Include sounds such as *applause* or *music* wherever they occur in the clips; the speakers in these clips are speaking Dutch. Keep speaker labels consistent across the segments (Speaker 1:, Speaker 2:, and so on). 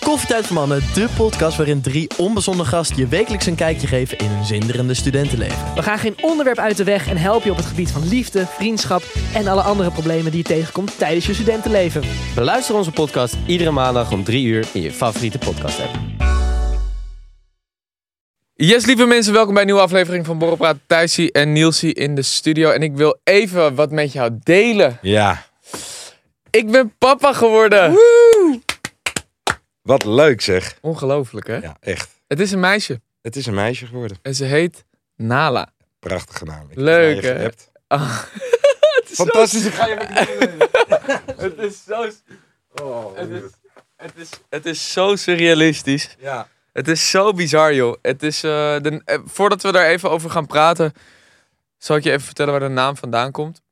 Speaker 1: Koffietijd voor Mannen, de podcast waarin drie onbezonnen gasten je wekelijks een kijkje geven in hun zinderende studentenleven.
Speaker 2: We gaan geen onderwerp uit de weg en helpen je op het gebied van liefde, vriendschap en alle andere problemen die je tegenkomt tijdens je studentenleven.
Speaker 3: Beluister onze podcast iedere maandag om 3 uur in je favoriete podcast app.
Speaker 4: Yes, lieve mensen, welkom bij een nieuwe aflevering van Borrelpraat. Thijsie en Nielsie in de studio. En ik wil even wat met jou delen.
Speaker 5: Ja,
Speaker 4: Ik ben papa geworden.
Speaker 5: wat leuk zeg.
Speaker 4: Ongelooflijk, hè?
Speaker 5: Ja, echt.
Speaker 4: Het is een meisje.
Speaker 5: Het is een meisje geworden.
Speaker 4: En ze heet Nala.
Speaker 5: Prachtige naam. Ik heb
Speaker 4: Leuk,
Speaker 5: het naar je
Speaker 4: hè?
Speaker 5: geappt.
Speaker 4: Ah, *laughs*
Speaker 5: Fantastisch. Ik ga je even-
Speaker 4: het is zo... het, is, het, is, het is zo surrealistisch.
Speaker 5: Ja.
Speaker 4: Het is zo bizar, joh. Het is, eh, de, eh, voordat we daar even over gaan praten... zal ik je even vertellen waar de naam vandaan komt.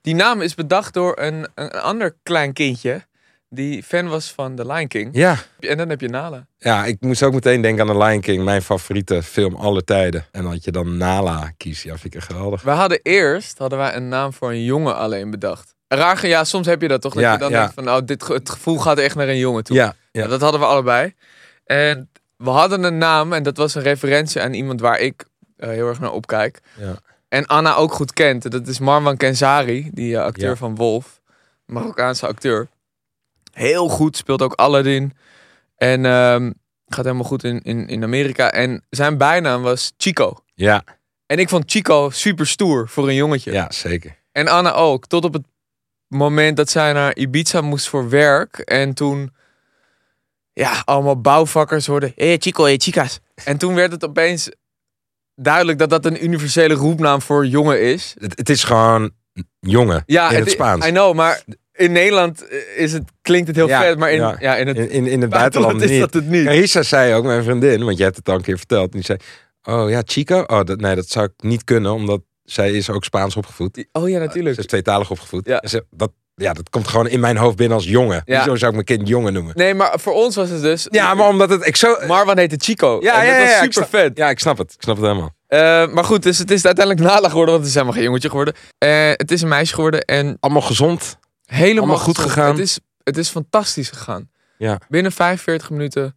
Speaker 4: Die naam is bedacht door een, een, een ander klein kindje. Die fan was van The Lion King.
Speaker 5: ja.
Speaker 4: En dan heb je Nala.
Speaker 5: Ja, ik moest ook meteen denken aan The Lion King. Mijn favoriete film aller tijden. En dat je dan Nala kiest. Ja, vind ik echt geweldig.
Speaker 4: We hadden eerst hadden wij een naam voor een jongen alleen bedacht. Raar, ge- ja, soms heb je dat toch? Dat
Speaker 5: Ja,
Speaker 4: je dan
Speaker 5: ja.
Speaker 4: denkt van, nou, dit, ge- het gevoel gaat echt naar een jongen toe.
Speaker 5: Ja,
Speaker 4: Nou,
Speaker 5: ja.
Speaker 4: dat hadden we allebei. En we hadden een naam en dat was een referentie aan iemand waar ik eh, heel erg naar opkijk.
Speaker 5: Ja.
Speaker 4: En Anna ook goed kent. Dat is Marwan Kenzari, die eh, acteur
Speaker 5: Ja.
Speaker 4: van Wolf. Marokkaanse acteur. Heel goed, speelt ook Aladdin. En ehm, gaat helemaal goed in, in, in Amerika. En zijn bijnaam was Chico.
Speaker 5: Ja,
Speaker 4: En ik vond Chico super stoer voor een jongetje.
Speaker 5: ja, zeker.
Speaker 4: En Anna ook. Tot op het moment dat zij naar Ibiza moest voor werk. En toen, ja, allemaal bouwvakkers hoorden. Hé hey, Chico, hé hey, chicas. En toen werd het opeens duidelijk dat dat een universele roepnaam voor jongen is.
Speaker 5: Het, het is gewoon een jongen
Speaker 4: Ja,
Speaker 5: in het, Spaans.
Speaker 4: I know, maar in Nederland is het, klinkt het heel
Speaker 5: Ja,
Speaker 4: vet. Maar in, ja.
Speaker 5: ja.
Speaker 4: in het
Speaker 5: In, in, in het buitenland
Speaker 4: is dat
Speaker 5: niet.
Speaker 4: het niet.
Speaker 5: Carissa zei ook, mijn vriendin, want jij hebt het al een keer verteld. En die zei, oh ja, Chico? Oh, dat, nee, dat zou ik niet kunnen, omdat zij is ook Spaans opgevoed.
Speaker 4: Oh ja,
Speaker 5: Ze is
Speaker 4: natuurlijk.
Speaker 5: tweetalig opgevoed.
Speaker 4: Ja.
Speaker 5: En ze, dat, ja, dat komt gewoon in mijn hoofd binnen als jongen.
Speaker 4: Ja.
Speaker 5: Zo zou ik mijn kind jongen noemen.
Speaker 4: Nee, maar voor ons was het dus...
Speaker 5: Ja, maar omdat het... Ik zo,
Speaker 4: Marwan heette Chico.
Speaker 5: Ja,
Speaker 4: en
Speaker 5: ja,
Speaker 4: dat
Speaker 5: ja,
Speaker 4: was
Speaker 5: ik
Speaker 4: super
Speaker 5: snap-
Speaker 4: vet.
Speaker 5: ja, ik snap het. Ik snap het helemaal.
Speaker 4: Eh, maar goed, dus het is uiteindelijk Nala geworden, want het is helemaal geen jongetje geworden. Eh, het is een meisje geworden en
Speaker 5: Allemaal gezond.
Speaker 4: helemaal
Speaker 5: Allemaal goed
Speaker 4: gezond.
Speaker 5: gegaan.
Speaker 4: Het is, het is fantastisch gegaan.
Speaker 5: Ja.
Speaker 4: Binnen 45 minuten,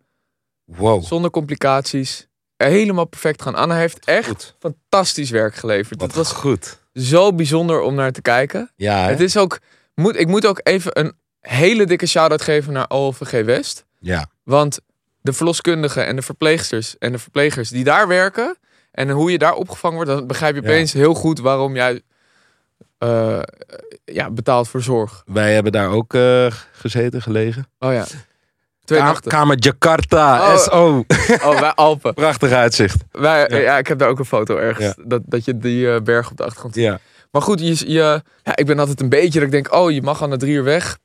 Speaker 5: Wow.
Speaker 4: zonder complicaties. Helemaal perfect gaan. Anna heeft echt
Speaker 5: Goed.
Speaker 4: fantastisch werk geleverd.
Speaker 5: Dat
Speaker 4: Het
Speaker 5: was
Speaker 4: was
Speaker 5: goed.
Speaker 4: zo bijzonder om naar te kijken.
Speaker 5: Ja, hè?
Speaker 4: Het is ook, moet, ik moet ook even een hele dikke shout-out geven naar OVG West.
Speaker 5: ja.
Speaker 4: Want de verloskundigen en de verpleegsters en de verplegers die daar werken en hoe je daar opgevangen wordt, dan begrijp je
Speaker 5: Ja.
Speaker 4: opeens heel goed waarom jij eh, ja, betaalt voor zorg.
Speaker 5: Wij hebben daar ook eh, gezeten, gelegen.
Speaker 4: Oh ja. Twee
Speaker 5: Ka-
Speaker 4: nachten.
Speaker 5: Kamer Jakarta,
Speaker 4: Oh.
Speaker 5: SO.
Speaker 4: Oh, wij Alpen.
Speaker 5: Prachtig uitzicht.
Speaker 4: Wij, ja.
Speaker 5: Ja.
Speaker 4: ik heb daar ook een foto ergens. Dat, dat je die eh, berg op de achtergrond ziet.
Speaker 5: Ja.
Speaker 4: Maar goed, je, je, ja, ik ben altijd een beetje dat ik denk, oh, je mag al na drie uur weg.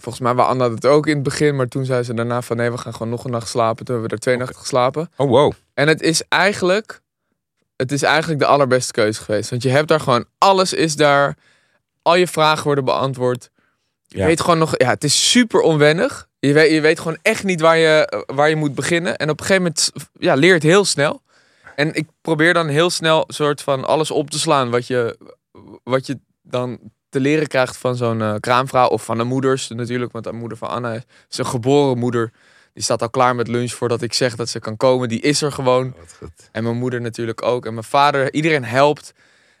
Speaker 4: Volgens mij was Anna dat ook in het begin. Maar toen zei ze daarna van, nee, we gaan gewoon nog een nacht slapen. Toen hebben we er twee nachten geslapen.
Speaker 5: Oh, wow.
Speaker 4: En het is eigenlijk, het is eigenlijk de allerbeste keuze geweest. Want je hebt daar gewoon, alles is daar. Al je vragen worden beantwoord. Je
Speaker 5: Ja.
Speaker 4: weet gewoon nog, ja, het is super onwennig. Je weet, je weet gewoon echt niet waar je, eh, waar je moet beginnen. En op een gegeven moment ja, leer je het heel snel. En ik probeer dan heel snel soort van alles op te slaan wat je, wat je dan te leren krijgt van zo'n eh, kraamvrouw of van de moeders natuurlijk. Want de moeder van Anna is is een geboren moeder. Die staat al klaar met lunch voordat ik zeg dat ze kan komen. Die is er gewoon.
Speaker 5: Oh, Wat goed.
Speaker 4: En mijn moeder natuurlijk ook. En mijn vader, iedereen helpt.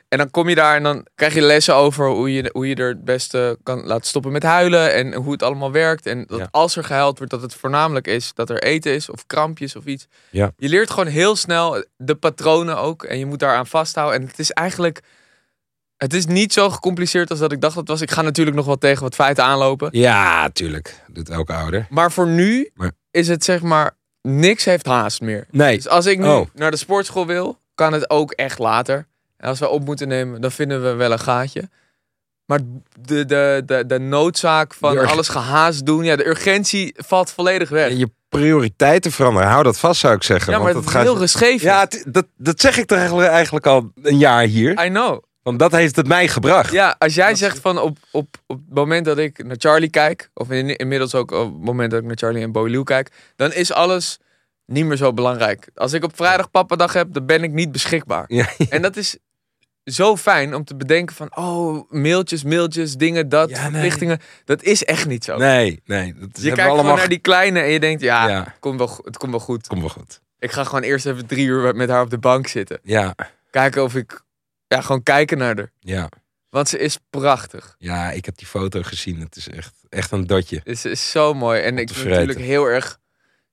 Speaker 4: En dan kom je daar en dan krijg je lessen over hoe je, hoe je er het beste kan laten stoppen met huilen. En hoe het allemaal werkt. En dat
Speaker 5: Ja.
Speaker 4: als er gehuild wordt, dat het voornamelijk is dat er eten is of krampjes of iets.
Speaker 5: Ja.
Speaker 4: Je leert gewoon heel snel de patronen ook. En je moet daaraan vasthouden. En het is eigenlijk... Het is niet zo gecompliceerd als dat ik dacht dat het was. Ik ga natuurlijk nog wel tegen wat feiten aanlopen.
Speaker 5: Ja, tuurlijk. Doet elke ouder.
Speaker 4: Maar voor nu
Speaker 5: Maar-
Speaker 4: is het zeg maar... Niks heeft haast meer.
Speaker 5: Nee.
Speaker 4: Dus als ik nu
Speaker 5: Oh.
Speaker 4: naar de sportschool wil, kan het ook echt later. En als we op moeten nemen, dan vinden we wel een gaatje. Maar de, de, de, de noodzaak van
Speaker 5: De urg-
Speaker 4: alles gehaast doen, ja, de urgentie valt volledig weg. Ja,
Speaker 5: Je prioriteiten veranderen. Hou dat vast, zou ik zeggen.
Speaker 4: maar
Speaker 5: want
Speaker 4: het
Speaker 5: dat
Speaker 4: is
Speaker 5: gaat...
Speaker 4: heel geschreven.
Speaker 5: Ja, het- dat, dat zeg ik toch eigenlijk- eigenlijk al een jaar hier.
Speaker 4: I know.
Speaker 5: Want dat heeft het mij gebracht.
Speaker 4: Ja, als jij zegt van op, op, op het moment dat ik naar Charlie kijk, of in, inmiddels ook op het moment dat ik naar Charlie en Boy Lou kijk, dan is alles
Speaker 5: *laughs*
Speaker 4: niet meer zo belangrijk. Als ik op vrijdag pappadag heb, dan ben ik niet beschikbaar.
Speaker 5: *laughs* Ja.
Speaker 4: En dat is zo fijn om te bedenken van, oh, mailtjes, mailtjes, dingen, dat,
Speaker 5: Ja, nee.
Speaker 4: verplichtingen. Dat is echt niet zo.
Speaker 5: Nee, nee. Dat
Speaker 4: je kijkt gewoon naar die kleine en je denkt, ja,
Speaker 5: Ja.
Speaker 4: het Komt wel, go- het komt wel goed.
Speaker 5: Kom wel goed.
Speaker 4: Ik ga gewoon eerst even drie uur met haar op de bank zitten.
Speaker 5: Ja,
Speaker 4: Kijken of ik, ja, gewoon kijken naar haar.
Speaker 5: ja.
Speaker 4: Want ze is prachtig.
Speaker 5: Ja, ik heb die foto gezien. Het is echt, echt een dotje.
Speaker 4: Ze is zo mooi. En ik
Speaker 5: te
Speaker 4: ben
Speaker 5: vreten.
Speaker 4: natuurlijk heel erg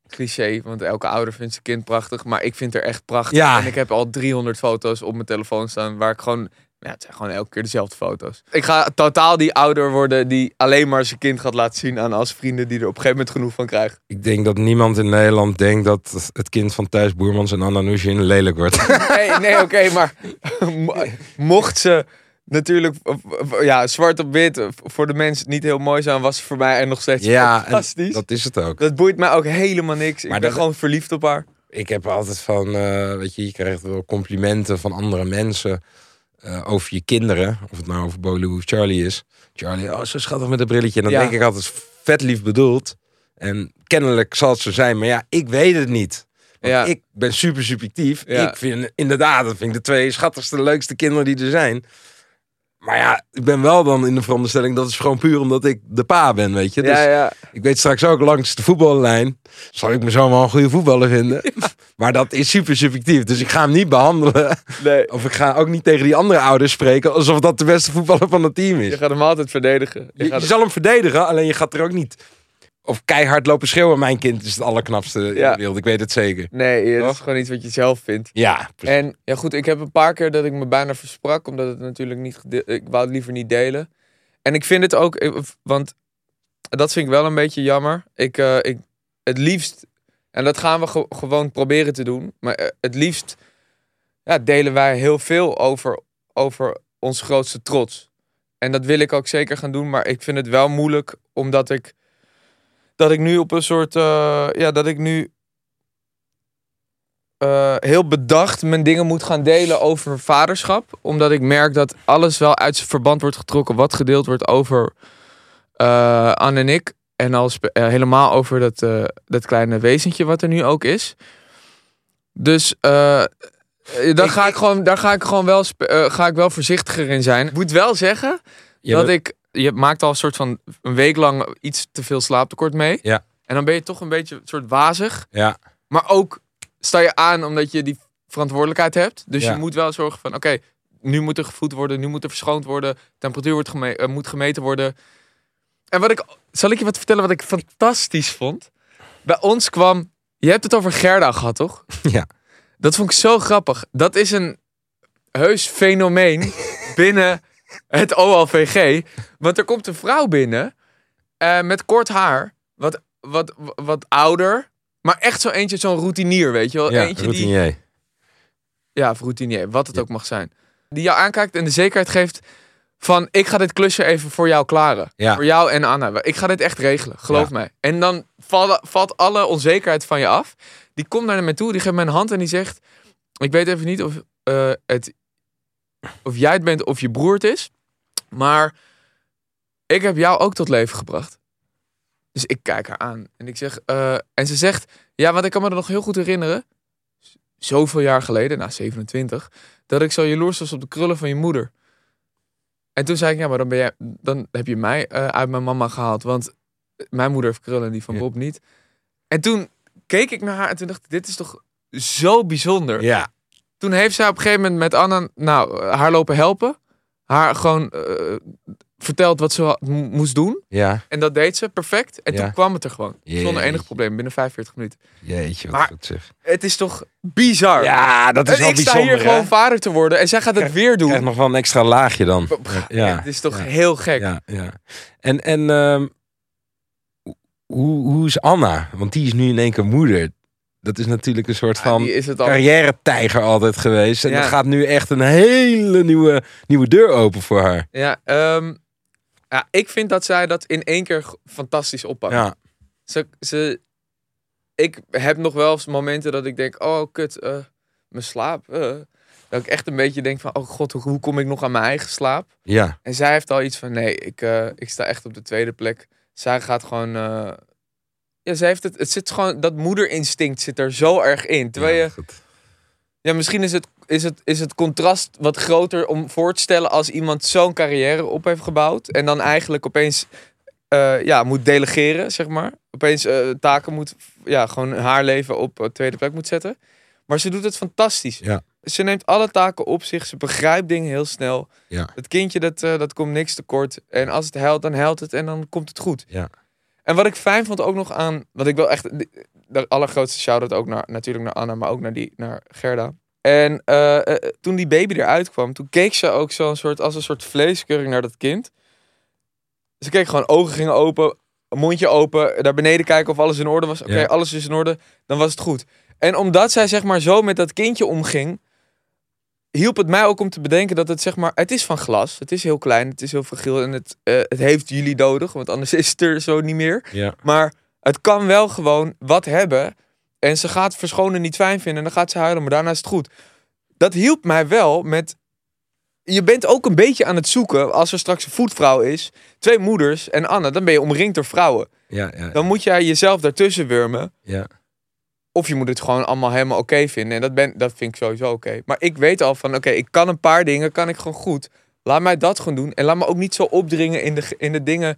Speaker 4: cliché, want elke ouder vindt zijn kind prachtig. Maar ik vind haar echt prachtig.
Speaker 5: Ja.
Speaker 4: En ik heb al 300 foto's op mijn telefoon staan waar ik gewoon... Ja, het zijn gewoon elke keer dezelfde foto's. Ik ga totaal die ouder worden die alleen maar zijn kind gaat laten zien aan als vrienden die er op een gegeven moment genoeg van
Speaker 5: *laughs*
Speaker 4: krijgen.
Speaker 5: Ik denk dat niemand in Nederland denkt dat het kind van Thijs Boermans en Anna Nushin lelijk wordt.
Speaker 4: Nee, nee oké, maar mo- mocht ze natuurlijk ja, zwart op wit eh, voor de mensen niet heel mooi zijn, was ze voor mij er nog steeds
Speaker 5: *laughs* *laughs* ja, en
Speaker 4: fantastisch.
Speaker 5: dat is het ook.
Speaker 4: Dat boeit mij ook helemaal niks. Ik
Speaker 5: Maar
Speaker 4: ben
Speaker 5: dat-
Speaker 4: gewoon verliefd op haar.
Speaker 5: Ik heb altijd van, eh, weet je, je krijgt wel complimenten van andere mensen eh, over je kinderen. Of het nou over Bolu of Charlie is. Charlie, oh, zo schattig met een brilletje. En dan
Speaker 4: Ja.
Speaker 5: denk ik altijd, vet lief bedoeld. En kennelijk zal het zo zijn, maar ja, ik weet het niet. Want
Speaker 4: Ja.
Speaker 5: ik ben super subjectief.
Speaker 4: Ja.
Speaker 5: Ik vind inderdaad, dat vind ik de twee schattigste, leukste kinderen die er zijn. Maar ja, ik ben wel dan in de veronderstelling dat is gewoon puur omdat ik de pa ben, weet je. Dus
Speaker 4: ja, ja.
Speaker 5: ik weet straks ook langs de voetballijn. Zal ik me zo wel een goede voetballer
Speaker 4: *laughs*
Speaker 5: vinden? Maar dat is super subjectief. Dus ik ga hem niet behandelen.
Speaker 4: Nee,
Speaker 5: Of ik ga ook niet tegen die andere ouders spreken. Alsof dat de beste voetballer van het team is.
Speaker 4: je
Speaker 5: Je,
Speaker 4: gaat hem altijd verdedigen. Je gaat
Speaker 5: je zal hem verdedigen, alleen je gaat er ook niet. Of keihard lopen schreeuwen. Mijn kind is het allerknapste in
Speaker 4: Ja.
Speaker 5: de wereld. Ik weet het zeker.
Speaker 4: Nee, dat
Speaker 5: Toch?
Speaker 4: is gewoon iets wat je zelf vindt.
Speaker 5: Ja, precies.
Speaker 4: En ja, goed, ik heb een paar keer dat ik me bijna versprak, omdat het natuurlijk niet. gede- Ik wou het liever niet delen. En ik vind het ook, eh, want dat vind ik wel een beetje jammer. Ik, eh, ik het liefst, en dat gaan we ge- gewoon proberen te doen, maar eh, het liefst ja, delen wij heel veel over, over ons grootste trots. En dat wil ik ook zeker gaan doen, maar ik vind het wel moeilijk omdat ik. Dat ik nu op een soort. eh, ja, dat ik nu eh, heel bedacht mijn dingen moet gaan delen over vaderschap. Omdat ik merk dat alles wel uit zijn verband wordt getrokken. Wat gedeeld wordt over eh Anne en ik. En al spe- eh, helemaal over dat, eh, dat kleine wezentje wat er nu ook is. Dus eh, eh, daar,
Speaker 5: Ik-
Speaker 4: ga ik gewoon, daar ga ik gewoon wel, spe- eh, ga ik wel voorzichtiger in zijn. Ik moet wel zeggen
Speaker 5: Je
Speaker 4: dat
Speaker 5: bent-
Speaker 4: ik, je maakt al een soort van een week lang iets te veel slaaptekort mee.
Speaker 5: Ja.
Speaker 4: En dan ben je toch een beetje een soort wazig.
Speaker 5: Ja.
Speaker 4: Maar ook sta je aan omdat je die verantwoordelijkheid hebt. Dus
Speaker 5: Ja.
Speaker 4: je moet wel zorgen van, oké, nu moet er gevoed worden, nu moet er verschoond worden, temperatuur wordt geme- eh, moet gemeten worden. En wat ik, zal ik je wat vertellen wat ik fantastisch vond? Bij ons kwam, je hebt het over Gerda gehad, toch?
Speaker 5: Ja.
Speaker 4: Dat vond ik zo grappig. Dat is een heus
Speaker 5: *laughs*
Speaker 4: fenomeen binnen het OLVG. Want er komt een vrouw binnen eh, met kort haar, wat, wat, wat ouder, maar echt zo eentje, zo'n routinier, weet je wel?
Speaker 5: ja,
Speaker 4: eentje die
Speaker 5: routinier.
Speaker 4: ja, of routinier, wat het ook mag zijn. Die jou aankijkt en de zekerheid geeft van ik ga dit klusje even voor jou klaren.
Speaker 5: Ja.
Speaker 4: Voor jou en Anna. Ik ga dit echt regelen, geloof
Speaker 5: Ja.
Speaker 4: mij. En dan vallen, valt alle onzekerheid van je af. Die komt naar me toe, die geeft mij een hand en die zegt... Ik weet even niet of, eh, het, of jij het bent of je broer het is. Maar ik heb jou ook tot leven gebracht. Dus ik kijk haar aan en ik zeg... eh, en ze zegt, ja, want ik kan me dat nog heel goed herinneren zoveel jaar geleden, na 27, dat ik zo jaloers was op de krullen van je moeder. En toen zei ik, ja, maar dan, ben jij, dan heb je mij eh, uit mijn mama gehaald, want eh, mijn moeder heeft krullen en die van
Speaker 5: Ja.
Speaker 4: Bob niet. En toen keek ik naar haar en toen dacht ik, dit is toch zo bijzonder.
Speaker 5: Ja,
Speaker 4: Toen heeft zij op een gegeven moment met Anna, nou, eh, haar lopen helpen. Haar gewoon eh, verteld wat ze had- mo- moest doen.
Speaker 5: ja.
Speaker 4: En dat deed ze perfect. En
Speaker 5: Ja.
Speaker 4: toen kwam het er gewoon. Zonder
Speaker 5: Jeetje.
Speaker 4: enig probleem, binnen 45 minuten.
Speaker 5: Jeetje, wat
Speaker 4: Maar-
Speaker 5: goed zeg.
Speaker 4: Het is toch bizar?
Speaker 5: Ja, dat is
Speaker 4: En
Speaker 5: wel
Speaker 4: ik sta
Speaker 5: bijzonder,
Speaker 4: hier
Speaker 5: hè?
Speaker 4: gewoon vader te worden en zij gaat het weer doen.
Speaker 5: Krijg nog wel een extra laagje dan. Ja.
Speaker 4: Het is toch
Speaker 5: Ja.
Speaker 4: heel gek.
Speaker 5: Ja, ja. En, en ehm, hoe, hoe is Anna? Want die is nu in één keer moeder. Dat is natuurlijk een soort
Speaker 4: Ja,
Speaker 5: van
Speaker 4: die is het al.
Speaker 5: carrière-tijger altijd geweest. En
Speaker 4: Ja.
Speaker 5: er gaat nu echt een hele nieuwe, nieuwe deur open voor haar.
Speaker 4: Ja, ehm, ja, ik vind dat zij dat in één keer g- fantastisch oppakt.
Speaker 5: Ja,
Speaker 4: Ze, ze, ik heb nog wel eens momenten dat ik denk, oh kut, eh, mijn slaap. eh. Dat ik echt een beetje denk van, oh god, hoe, hoe kom ik nog aan mijn eigen slaap?
Speaker 5: ja,
Speaker 4: En zij heeft al iets van, nee, ik, eh, ik sta echt op de tweede plek. Zij gaat gewoon... eh, ja, zij heeft het, het zit gewoon, dat moederinstinct zit er zo erg in. Terwijl
Speaker 5: Ja,
Speaker 4: je
Speaker 5: goed.
Speaker 4: Ja, misschien is het is het, is het contrast wat groter om voor te stellen als iemand zo'n carrière op heeft gebouwd. En dan eigenlijk opeens eh, ja, moet delegeren, zeg maar. Opeens eh, taken moet, ja, gewoon haar leven op eh, tweede plek moet zetten. Maar ze doet het fantastisch.
Speaker 5: Ja.
Speaker 4: Ze neemt alle taken op zich. Ze begrijpt dingen heel snel.
Speaker 5: Ja.
Speaker 4: Het kindje, dat, eh, dat komt niks tekort. En als het huilt, dan huilt het en dan komt het goed.
Speaker 5: Ja.
Speaker 4: En wat ik fijn vond ook nog aan... Wat ik wel echt... De allergrootste shout-out ook naar, natuurlijk naar Anna, maar ook naar, die, naar Gerda. En eh, eh, toen die baby eruit kwam, toen keek ze ook zo'n soort, als een soort vleeskeuring naar dat kind. Ze keek gewoon, ogen gingen open, mondje open, naar beneden kijken of alles in orde was. Oké,
Speaker 5: Ja.
Speaker 4: alles is in orde, dan was het goed. En omdat zij zeg maar zo met dat kindje omging, hielp het mij ook om te bedenken dat het zeg maar, het is van glas. Het is heel klein, het is heel fragiel en het, eh, het heeft jullie nodig, want anders *laughs* is het er zo niet meer.
Speaker 5: Ja.
Speaker 4: Maar het kan wel gewoon wat hebben. En ze gaat verschonen niet fijn vinden. En dan gaat ze huilen, maar daarna is het goed. Dat hielp mij wel met... Je bent ook een beetje aan het zoeken, als er straks een voetvrouw is, twee moeders en Anne, dan ben je omringd door vrouwen.
Speaker 5: Ja, ja,
Speaker 4: Dan moet jij jezelf daartussen wurmen.
Speaker 5: ja.
Speaker 4: Of je moet het gewoon allemaal helemaal oké vinden. En dat, ben, dat vind ik sowieso oké. Maar ik weet al van, oké, ik kan een paar dingen, kan ik gewoon goed. Laat mij dat gewoon doen. En laat me ook niet zo opdringen in de, in de dingen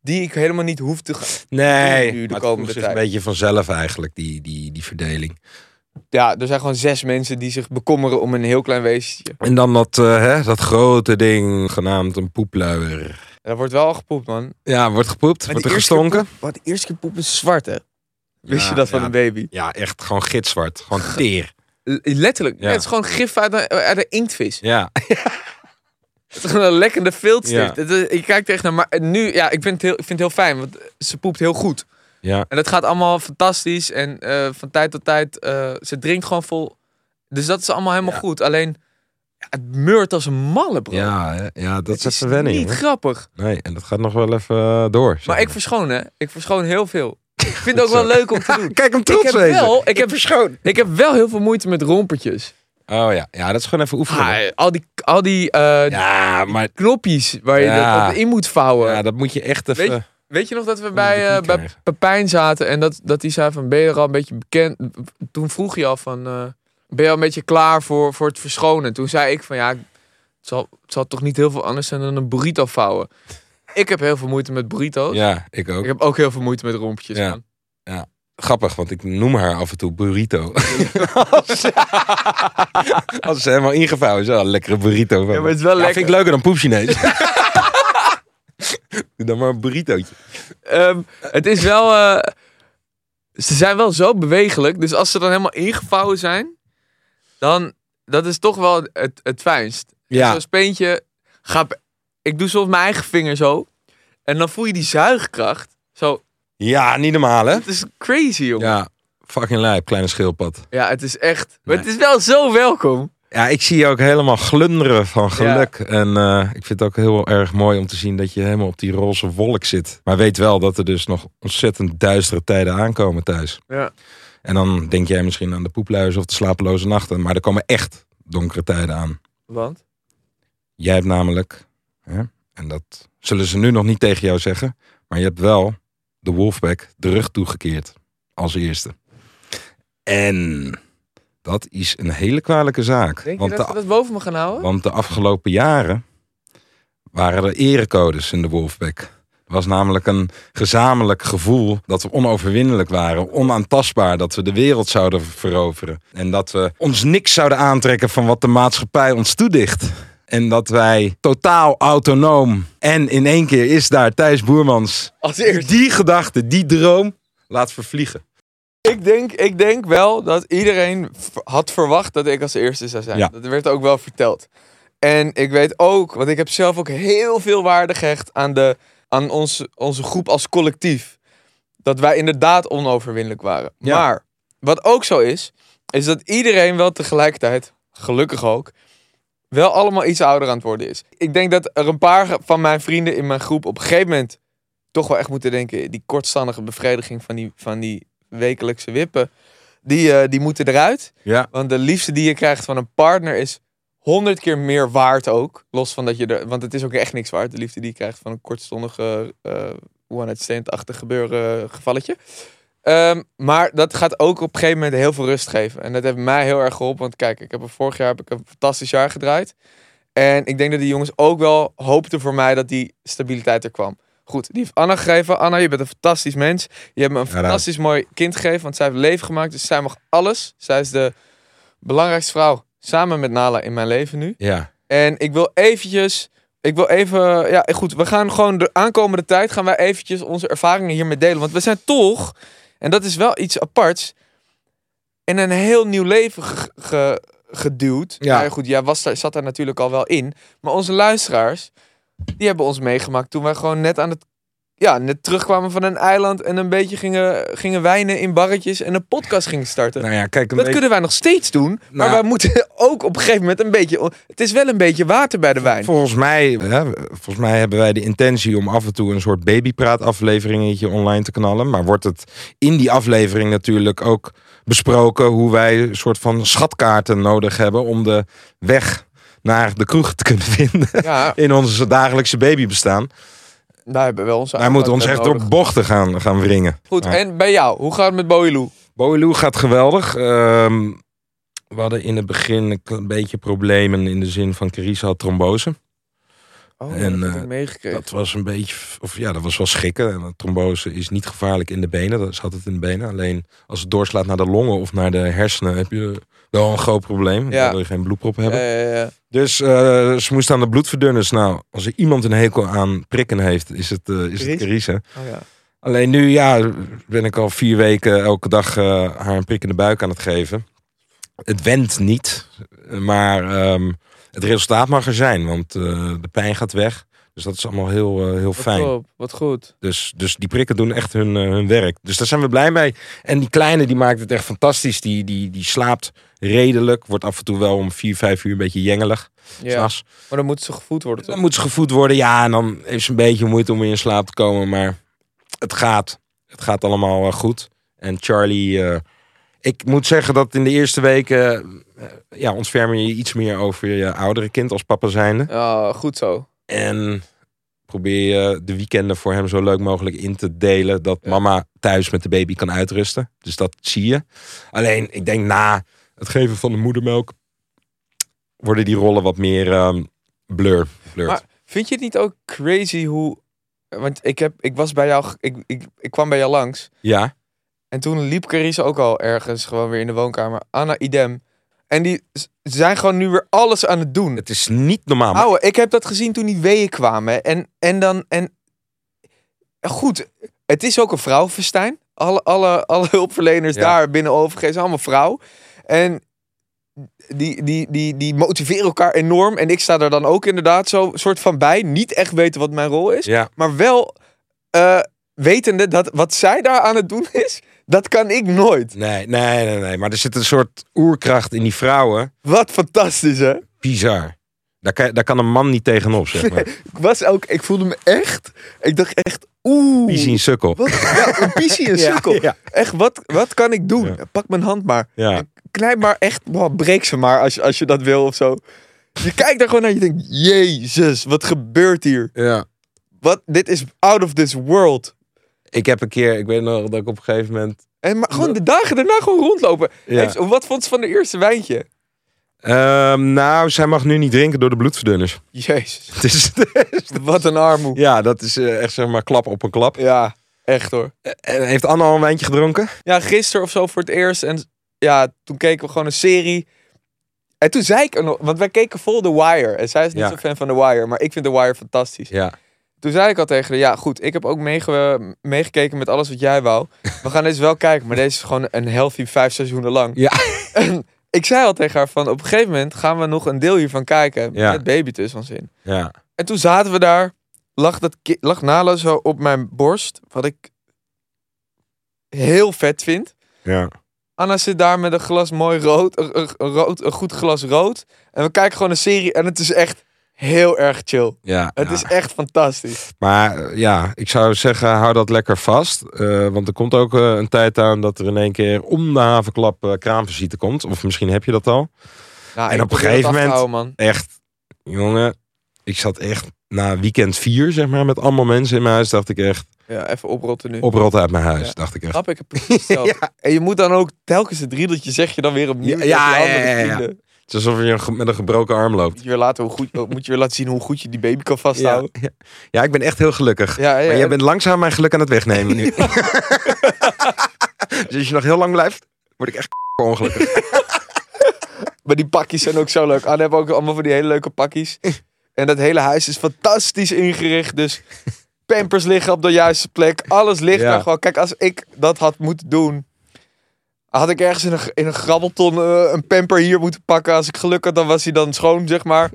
Speaker 4: die ik helemaal niet hoef te... ge-
Speaker 5: Nee,
Speaker 4: Nu de
Speaker 5: maar het
Speaker 4: komende
Speaker 5: komt zich
Speaker 4: tijd.
Speaker 5: een beetje vanzelf eigenlijk, die, die, die verdeling.
Speaker 4: Ja, er zijn gewoon zes mensen die zich bekommeren om een heel klein weesje.
Speaker 5: En dan dat, eh, hè, dat grote ding genaamd een poepluier.
Speaker 4: Er wordt wel al gepoept, man.
Speaker 5: Ja, wordt gepoept, wordt er gestonken.
Speaker 4: Wat de eerste keer poep is zwart, hè? Wist
Speaker 5: Ja,
Speaker 4: je dat van
Speaker 5: ja.
Speaker 4: een baby?
Speaker 5: Ja, echt gewoon gitzwart. Gewoon teer.
Speaker 4: L- letterlijk.
Speaker 5: Ja.
Speaker 4: Ja, het is gewoon gif uit een, uit een inktvis.
Speaker 5: Ja,
Speaker 4: Het is gewoon een lekkende
Speaker 5: Ja.
Speaker 4: viltstift. Het is- Je kijkt er echt naar. Maar nu, ja, ik vind, het heel, ik vind het heel fijn, want ze poept heel goed.
Speaker 5: ja,
Speaker 4: En dat gaat allemaal fantastisch. En eh, van tijd tot tijd, eh, ze drinkt gewoon vol. Dus dat is allemaal helemaal
Speaker 5: Ja.
Speaker 4: goed. Alleen, ja, het meurt als een malle, bro.
Speaker 5: ja, hè, ja dat is
Speaker 4: Het
Speaker 5: even wennen.
Speaker 4: Niet
Speaker 5: jongen.
Speaker 4: grappig.
Speaker 5: Nee, en dat gaat nog wel even eh, door. zeg
Speaker 4: Maar ik verschoon, hè. Ik verschoon heel veel. Ik vind het ook
Speaker 5: Goed
Speaker 4: wel
Speaker 5: zo.
Speaker 4: leuk om te doen.
Speaker 5: Kijk hem *laughs* trots
Speaker 4: ik heb
Speaker 5: wezen.
Speaker 4: wel, ik heb,
Speaker 5: verschoon.
Speaker 4: ik heb wel heel veel moeite met rompertjes.
Speaker 5: Oh ja, ja, dat is gewoon even oefenen.
Speaker 4: Ah, al die, al die eh,
Speaker 5: ja, maar
Speaker 4: knopjes waar je
Speaker 5: Ja.
Speaker 4: dat op in moet vouwen.
Speaker 5: ja, dat moet je echt even...
Speaker 4: Weet Weet je nog dat we
Speaker 5: die
Speaker 4: bij, eh,
Speaker 5: knie
Speaker 4: bij
Speaker 5: krijgen.
Speaker 4: Pepijn zaten en dat, dat die zei van ben je er al een beetje bekend? Toen vroeg je al van eh, ben je al een beetje klaar voor, voor het verschonen? Toen zei ik van ja, het zal, het zal toch niet heel veel anders zijn dan een burrito vouwen. Ik heb heel veel moeite met burrito's.
Speaker 5: Ja, ik ook.
Speaker 4: Ik heb ook heel veel moeite met rompjes.
Speaker 5: Ja.
Speaker 4: man.
Speaker 5: Grappig, want ik noem haar af en toe
Speaker 4: *laughs*
Speaker 5: burrito. *laughs* Als ze helemaal ingevouwen is, ja, een lekkere burrito. Van.
Speaker 4: Ja, maar het is wel
Speaker 5: Ja,
Speaker 4: lekker.
Speaker 5: vind ik leuker dan poep
Speaker 4: *laughs*
Speaker 5: Chinees. Doe dan maar een burritootje.
Speaker 4: Ehm, het is wel. eh, ze zijn wel zo bewegelijk. Dus als ze dan helemaal ingevouwen zijn, dan dat is toch wel het, het fijnst.
Speaker 5: Ja,
Speaker 4: Zo'n speentje. Ga, p- ik doe soms mijn eigen vinger zo. En dan voel je die zuigkracht. Zo,
Speaker 5: ja niet normaal hè?
Speaker 4: het is crazy, jongen. Ja,
Speaker 5: Ja, fucking lijp, kleine schilpad.
Speaker 4: het is echt. Maar het
Speaker 5: Nee.
Speaker 4: is wel zo welkom.
Speaker 5: Ja, ik zie je ook helemaal glunderen van geluk. En eh, ik vind het ook heel erg mooi om te zien dat je helemaal op die roze wolk zit. Maar weet wel dat er dus nog ontzettend duistere tijden aankomen thuis.
Speaker 4: Ja.
Speaker 5: En dan denk jij misschien aan de poepluizen of de slapeloze nachten. Maar er komen echt donkere tijden aan.
Speaker 4: Want?
Speaker 5: Jij hebt namelijk, hè, en dat zullen ze nu nog niet tegen jou zeggen, maar je hebt wel de Wolfpack de rug toegekeerd als eerste. En dat is een hele kwalijke zaak.
Speaker 4: Denk je
Speaker 5: want
Speaker 4: dat
Speaker 5: de
Speaker 4: ze dat boven me gaan houden?
Speaker 5: want de afgelopen jaren waren er erecodes in de Wolfpack. Er was namelijk een gezamenlijk gevoel dat we onoverwinnelijk waren, onaantastbaar, dat we de wereld zouden veroveren. En dat we ons niks zouden aantrekken van wat de maatschappij ons toedicht. En dat wij totaal autonoom en in één keer is daar Thijs Boermans
Speaker 4: Als eerst.
Speaker 5: die gedachte, die droom laat vervliegen.
Speaker 4: Ik denk, ik denk wel dat iedereen v- had verwacht dat ik als eerste zou zijn.
Speaker 5: Ja.
Speaker 4: Dat werd ook wel verteld. En ik weet ook, want ik heb zelf ook heel veel waarde gehecht aan, de, aan onze, onze groep als collectief. Dat wij inderdaad onoverwinnelijk waren.
Speaker 5: Ja.
Speaker 4: Maar wat ook zo is, is dat iedereen wel tegelijkertijd, gelukkig ook, wel allemaal iets ouder aan het worden is. Ik denk dat er een paar ge- van mijn vrienden in mijn groep op een gegeven moment toch wel echt moeten denken, die kortstandige bevrediging van die, van die wekelijkse wippen, die, eh, die moeten eruit.
Speaker 5: Ja.
Speaker 4: Want de liefde die je krijgt van een partner is honderd keer meer waard ook. Los van dat je er, want het is ook echt niks waard, de liefde die je krijgt van een kortstondige eh one-night stand-achtig gebeuren eh, gevalletje. Ehm, maar dat gaat ook op een gegeven moment heel veel rust geven. En dat heeft mij heel erg geholpen. Want kijk, ik heb er vorig jaar heb ik een fantastisch jaar gedraaid. En ik denk dat die jongens ook wel hoopten voor mij dat die stabiliteit er kwam. Goed, die heeft Anna gegeven. Anna, je bent een fantastisch mens. Je hebt me een
Speaker 5: Ja, daar-
Speaker 4: fantastisch mooi kind gegeven. Want zij heeft leven gemaakt. Dus zij mag alles. Zij is de belangrijkste vrouw samen met Nala in mijn leven nu.
Speaker 5: Ja.
Speaker 4: En ik wil eventjes. Ik wil even. Ja, goed. We gaan gewoon de aankomende tijd. Gaan wij eventjes onze ervaringen hiermee delen. Want we zijn toch. En dat is wel iets aparts. In een heel nieuw leven ge- ge- geduwd.
Speaker 5: Ja.
Speaker 4: Nou goed. Jij was daar, zat daar natuurlijk al wel in. Maar onze luisteraars. Die hebben ons meegemaakt toen wij gewoon net aan het. Ja, net terugkwamen van een eiland. En een beetje gingen, gingen wijnen in barretjes. En een podcast gingen starten.
Speaker 5: Nou ja, kijk, een
Speaker 4: Dat
Speaker 5: beetje-
Speaker 4: kunnen wij nog steeds doen. maar
Speaker 5: Nou.
Speaker 4: wij moeten *laughs* ook op een gegeven moment een beetje. Het is wel een beetje water bij de
Speaker 5: *laughs*
Speaker 4: wijn.
Speaker 5: volgens mij, hè, volgens mij hebben wij de intentie om af en toe een soort babypraat-afleveringetje online te knallen. Maar wordt het in die aflevering natuurlijk ook besproken hoe wij een soort van schatkaarten nodig hebben om de weg naar de kroeg te kunnen *laughs* vinden
Speaker 4: Ja,
Speaker 5: in ons dagelijkse babybestaan.
Speaker 4: daar hebben we wel onze.
Speaker 5: Wij moeten ons
Speaker 4: aandacht
Speaker 5: echt
Speaker 4: nodig.
Speaker 5: door bochten gaan, gaan wringen.
Speaker 4: Goed,
Speaker 5: Ja.
Speaker 4: en bij jou, hoe gaat het met Oh, Bowie Lou?
Speaker 5: Boelu gaat geweldig. Ehm, we hadden in het begin een klein beetje problemen in de zin van Carissa had trombose.
Speaker 4: Oh,
Speaker 5: En,
Speaker 4: dat heb
Speaker 5: eh,
Speaker 4: ik meegekregen.
Speaker 5: Dat was een beetje, of ja, dat was wel schrikken. En een trombose is niet gevaarlijk in de benen, dat zat het in de benen. Alleen als het doorslaat naar de longen of naar de hersenen, heb je wel een groot probleem.
Speaker 4: Ja.
Speaker 5: Ja. wil je geen bloedprop hebben.
Speaker 4: Ja, ja, ja.
Speaker 5: Dus eh, ze moest aan de bloedverdunners. Nou, als er iemand een hekel aan prikken heeft, is het, eh, is het
Speaker 1: Carissa?
Speaker 5: Carissa.
Speaker 4: Oh, ja.
Speaker 5: Alleen nu, ja, ben ik al vier weken elke dag eh, haar een prik in de buik aan het geven. Het wendt niet, maar ehm, het resultaat mag er zijn, want eh, de pijn gaat weg. Dus dat is allemaal heel, eh, heel
Speaker 4: Wat
Speaker 5: fijn.
Speaker 4: top, wat goed.
Speaker 5: Dus, dus die prikken doen echt hun, eh, hun werk. Dus daar zijn we blij mee. En die kleine die maakt het echt fantastisch. Die, die, die slaapt redelijk. Wordt af en toe wel om vier, vijf uur een beetje jengelig.
Speaker 4: Ja.
Speaker 5: s'nachts.
Speaker 4: Maar dan moet ze gevoed worden, toch?
Speaker 5: Dan moet ze gevoed worden. Ja, en dan heeft ze een beetje moeite om weer in slaap te komen. Maar het gaat. Het gaat allemaal eh, goed. En Charlie... eh, ik moet zeggen dat in de eerste weken... eh, ja, ontferm je je iets meer over je oudere kind als papa zijnde.
Speaker 4: Ja, Ah, goed zo.
Speaker 5: En probeer je de weekenden voor hem zo leuk mogelijk in te delen. Dat
Speaker 4: Ja.
Speaker 5: mama thuis met de baby kan uitrusten. Dus dat zie je. Alleen, ik denk na het geven van de moedermelk... worden die rollen wat meer ehm, blur. blurred.
Speaker 4: Maar- Vind je het niet ook crazy hoe... Want ik, heb, ik was bij jou... ge- Ik, ik, ik kwam bij jou langs.
Speaker 5: ja.
Speaker 4: En toen liep Carissa ook al ergens gewoon weer in de woonkamer. Anna idem. En die z- zijn gewoon nu weer alles aan het doen.
Speaker 5: Het is niet normaal. Ah, maar
Speaker 4: Ouwe, ik heb dat gezien toen die weeën kwamen. En, en dan... En... Goed, het is ook een vrouwenfestijn. Alle, alle, alle hulpverleners
Speaker 5: Ja.
Speaker 4: daar binnen OVG zijn allemaal vrouw. En die, die, die, die motiveren elkaar enorm. En ik sta er dan ook inderdaad zo soort van bij. Niet echt weten wat mijn rol is.
Speaker 5: Ja,
Speaker 4: Maar wel eh, wetende dat wat zij daar aan het doen is... Dat kan ik nooit.
Speaker 5: nee, nee, nee, nee. Maar er zit een soort oerkracht in die vrouwen.
Speaker 4: Wat fantastisch, hè?
Speaker 5: Bizar. Daar kan, daar kan een man niet tegenop,
Speaker 4: *laughs*
Speaker 5: zeg maar.
Speaker 4: Ik was ook... Ik voelde me echt... Ik dacht echt... Oeh.
Speaker 5: Die zien sukkel.
Speaker 4: Wat? Ja, een pissie en
Speaker 5: *laughs* Ja,
Speaker 4: sukkel.
Speaker 5: ja.
Speaker 4: Echt, wat, wat kan ik doen?
Speaker 5: Ja.
Speaker 4: Pak mijn hand maar.
Speaker 5: Ja.
Speaker 4: Knijp maar echt. wow, breek ze maar als, je- als je dat wil of zo. Je kijkt daar gewoon naar en je denkt... Jezus, wat gebeurt hier?
Speaker 5: ja.
Speaker 4: Wat, dit is out of this world.
Speaker 5: Ik heb een keer, ik weet nog dat ik op een gegeven moment...
Speaker 4: En maar gewoon de dagen daarna gewoon rondlopen.
Speaker 5: Ja.
Speaker 4: Heeft- wat vond ze van de eerste wijntje?
Speaker 5: Ehm, nou, zij mag nu niet drinken door de bloedverdunners. *laughs*
Speaker 4: Jezus,
Speaker 5: Het is,
Speaker 4: wat een armoe.
Speaker 5: ja, dat is eh, echt zeg maar klap op een klap.
Speaker 4: Ja, echt hoor.
Speaker 5: En heeft Anna al een wijntje gedronken?
Speaker 4: Ja, gisteren of zo voor het eerst. En ja, toen keken we gewoon een serie. En toen zei ik er nog... Want wij keken vol The Wire. En zij is niet
Speaker 5: Ja.
Speaker 4: zo'n fan van The Wire. Maar ik vind The Wire fantastisch.
Speaker 5: Ja.
Speaker 4: Toen zei ik al tegen haar, ja goed, ik heb ook meege- meegekeken met alles wat jij wou. We gaan deze wel kijken, maar deze is gewoon een healthy vijf seizoenen lang.
Speaker 5: Ja.
Speaker 4: *laughs* En ik zei al tegen haar van, op een gegeven moment gaan we nog een deel hiervan kijken.
Speaker 5: Ja.
Speaker 4: Met baby tussen ons in.
Speaker 5: Ja.
Speaker 4: En toen zaten we daar, lag, dat ki- lag Nala zo op mijn borst, wat ik heel vet vind.
Speaker 5: Ja.
Speaker 4: Anna zit daar met een glas mooi rood, een, een- een rood, een goed glas rood. En we kijken gewoon een serie en het is echt heel erg chill.
Speaker 5: ja.
Speaker 4: Het
Speaker 5: ja.
Speaker 4: is echt fantastisch.
Speaker 5: Maar eh, ja, ik zou zeggen, hou dat lekker vast. Eh, want er komt ook eh, een tijd aan dat er in één keer om de havenklap eh, kraamvisite komt. Of misschien heb je dat al.
Speaker 4: Nou,
Speaker 5: En
Speaker 4: ik
Speaker 5: op een
Speaker 4: probeer het af te
Speaker 5: gegeven moment-
Speaker 4: houden, man.
Speaker 5: Echt, jongen, ik zat echt na weekend vier, zeg maar, met allemaal mensen in mijn huis, dacht ik echt,
Speaker 4: Ja, even oprotten nu.
Speaker 5: oprotten uit mijn huis.
Speaker 4: Ja.
Speaker 5: Dacht ik echt.
Speaker 4: Snap ik
Speaker 5: *laughs*
Speaker 4: het precies hetzelfde. En je moet dan ook telkens het riedeltje zeg je dan weer opnieuw.
Speaker 5: Ja,
Speaker 4: tegen
Speaker 5: ja,
Speaker 4: je andere
Speaker 5: ja, ja, ja.
Speaker 4: vrienden.
Speaker 5: Het is alsof je een ge- met een gebroken arm loopt.
Speaker 4: Moet je, weer laten hoe goed, moet je weer laten zien hoe goed je die baby kan vasthouden.
Speaker 5: Ja, ja. ja, ik ben echt heel gelukkig.
Speaker 4: Ja, ja,
Speaker 5: maar
Speaker 4: ja.
Speaker 5: jij bent langzaam mijn geluk aan het
Speaker 4: *laughs*
Speaker 5: wegnemen nu. *laughs* dus als je nog heel lang blijft, word ik echt *laughs* ongelukkig.
Speaker 4: Maar die pakjes zijn ook zo leuk. Anne hebben ook allemaal van die hele leuke pakjes. En dat hele huis is fantastisch ingericht. Dus pampers liggen op de juiste plek. Alles ligt
Speaker 5: Ja.
Speaker 4: daar gewoon. Kijk, als ik dat had moeten doen... Had ik ergens in een, in een grabbelton eh, een pamper hier moeten pakken. Als ik geluk had, dan was hij dan schoon, zeg maar.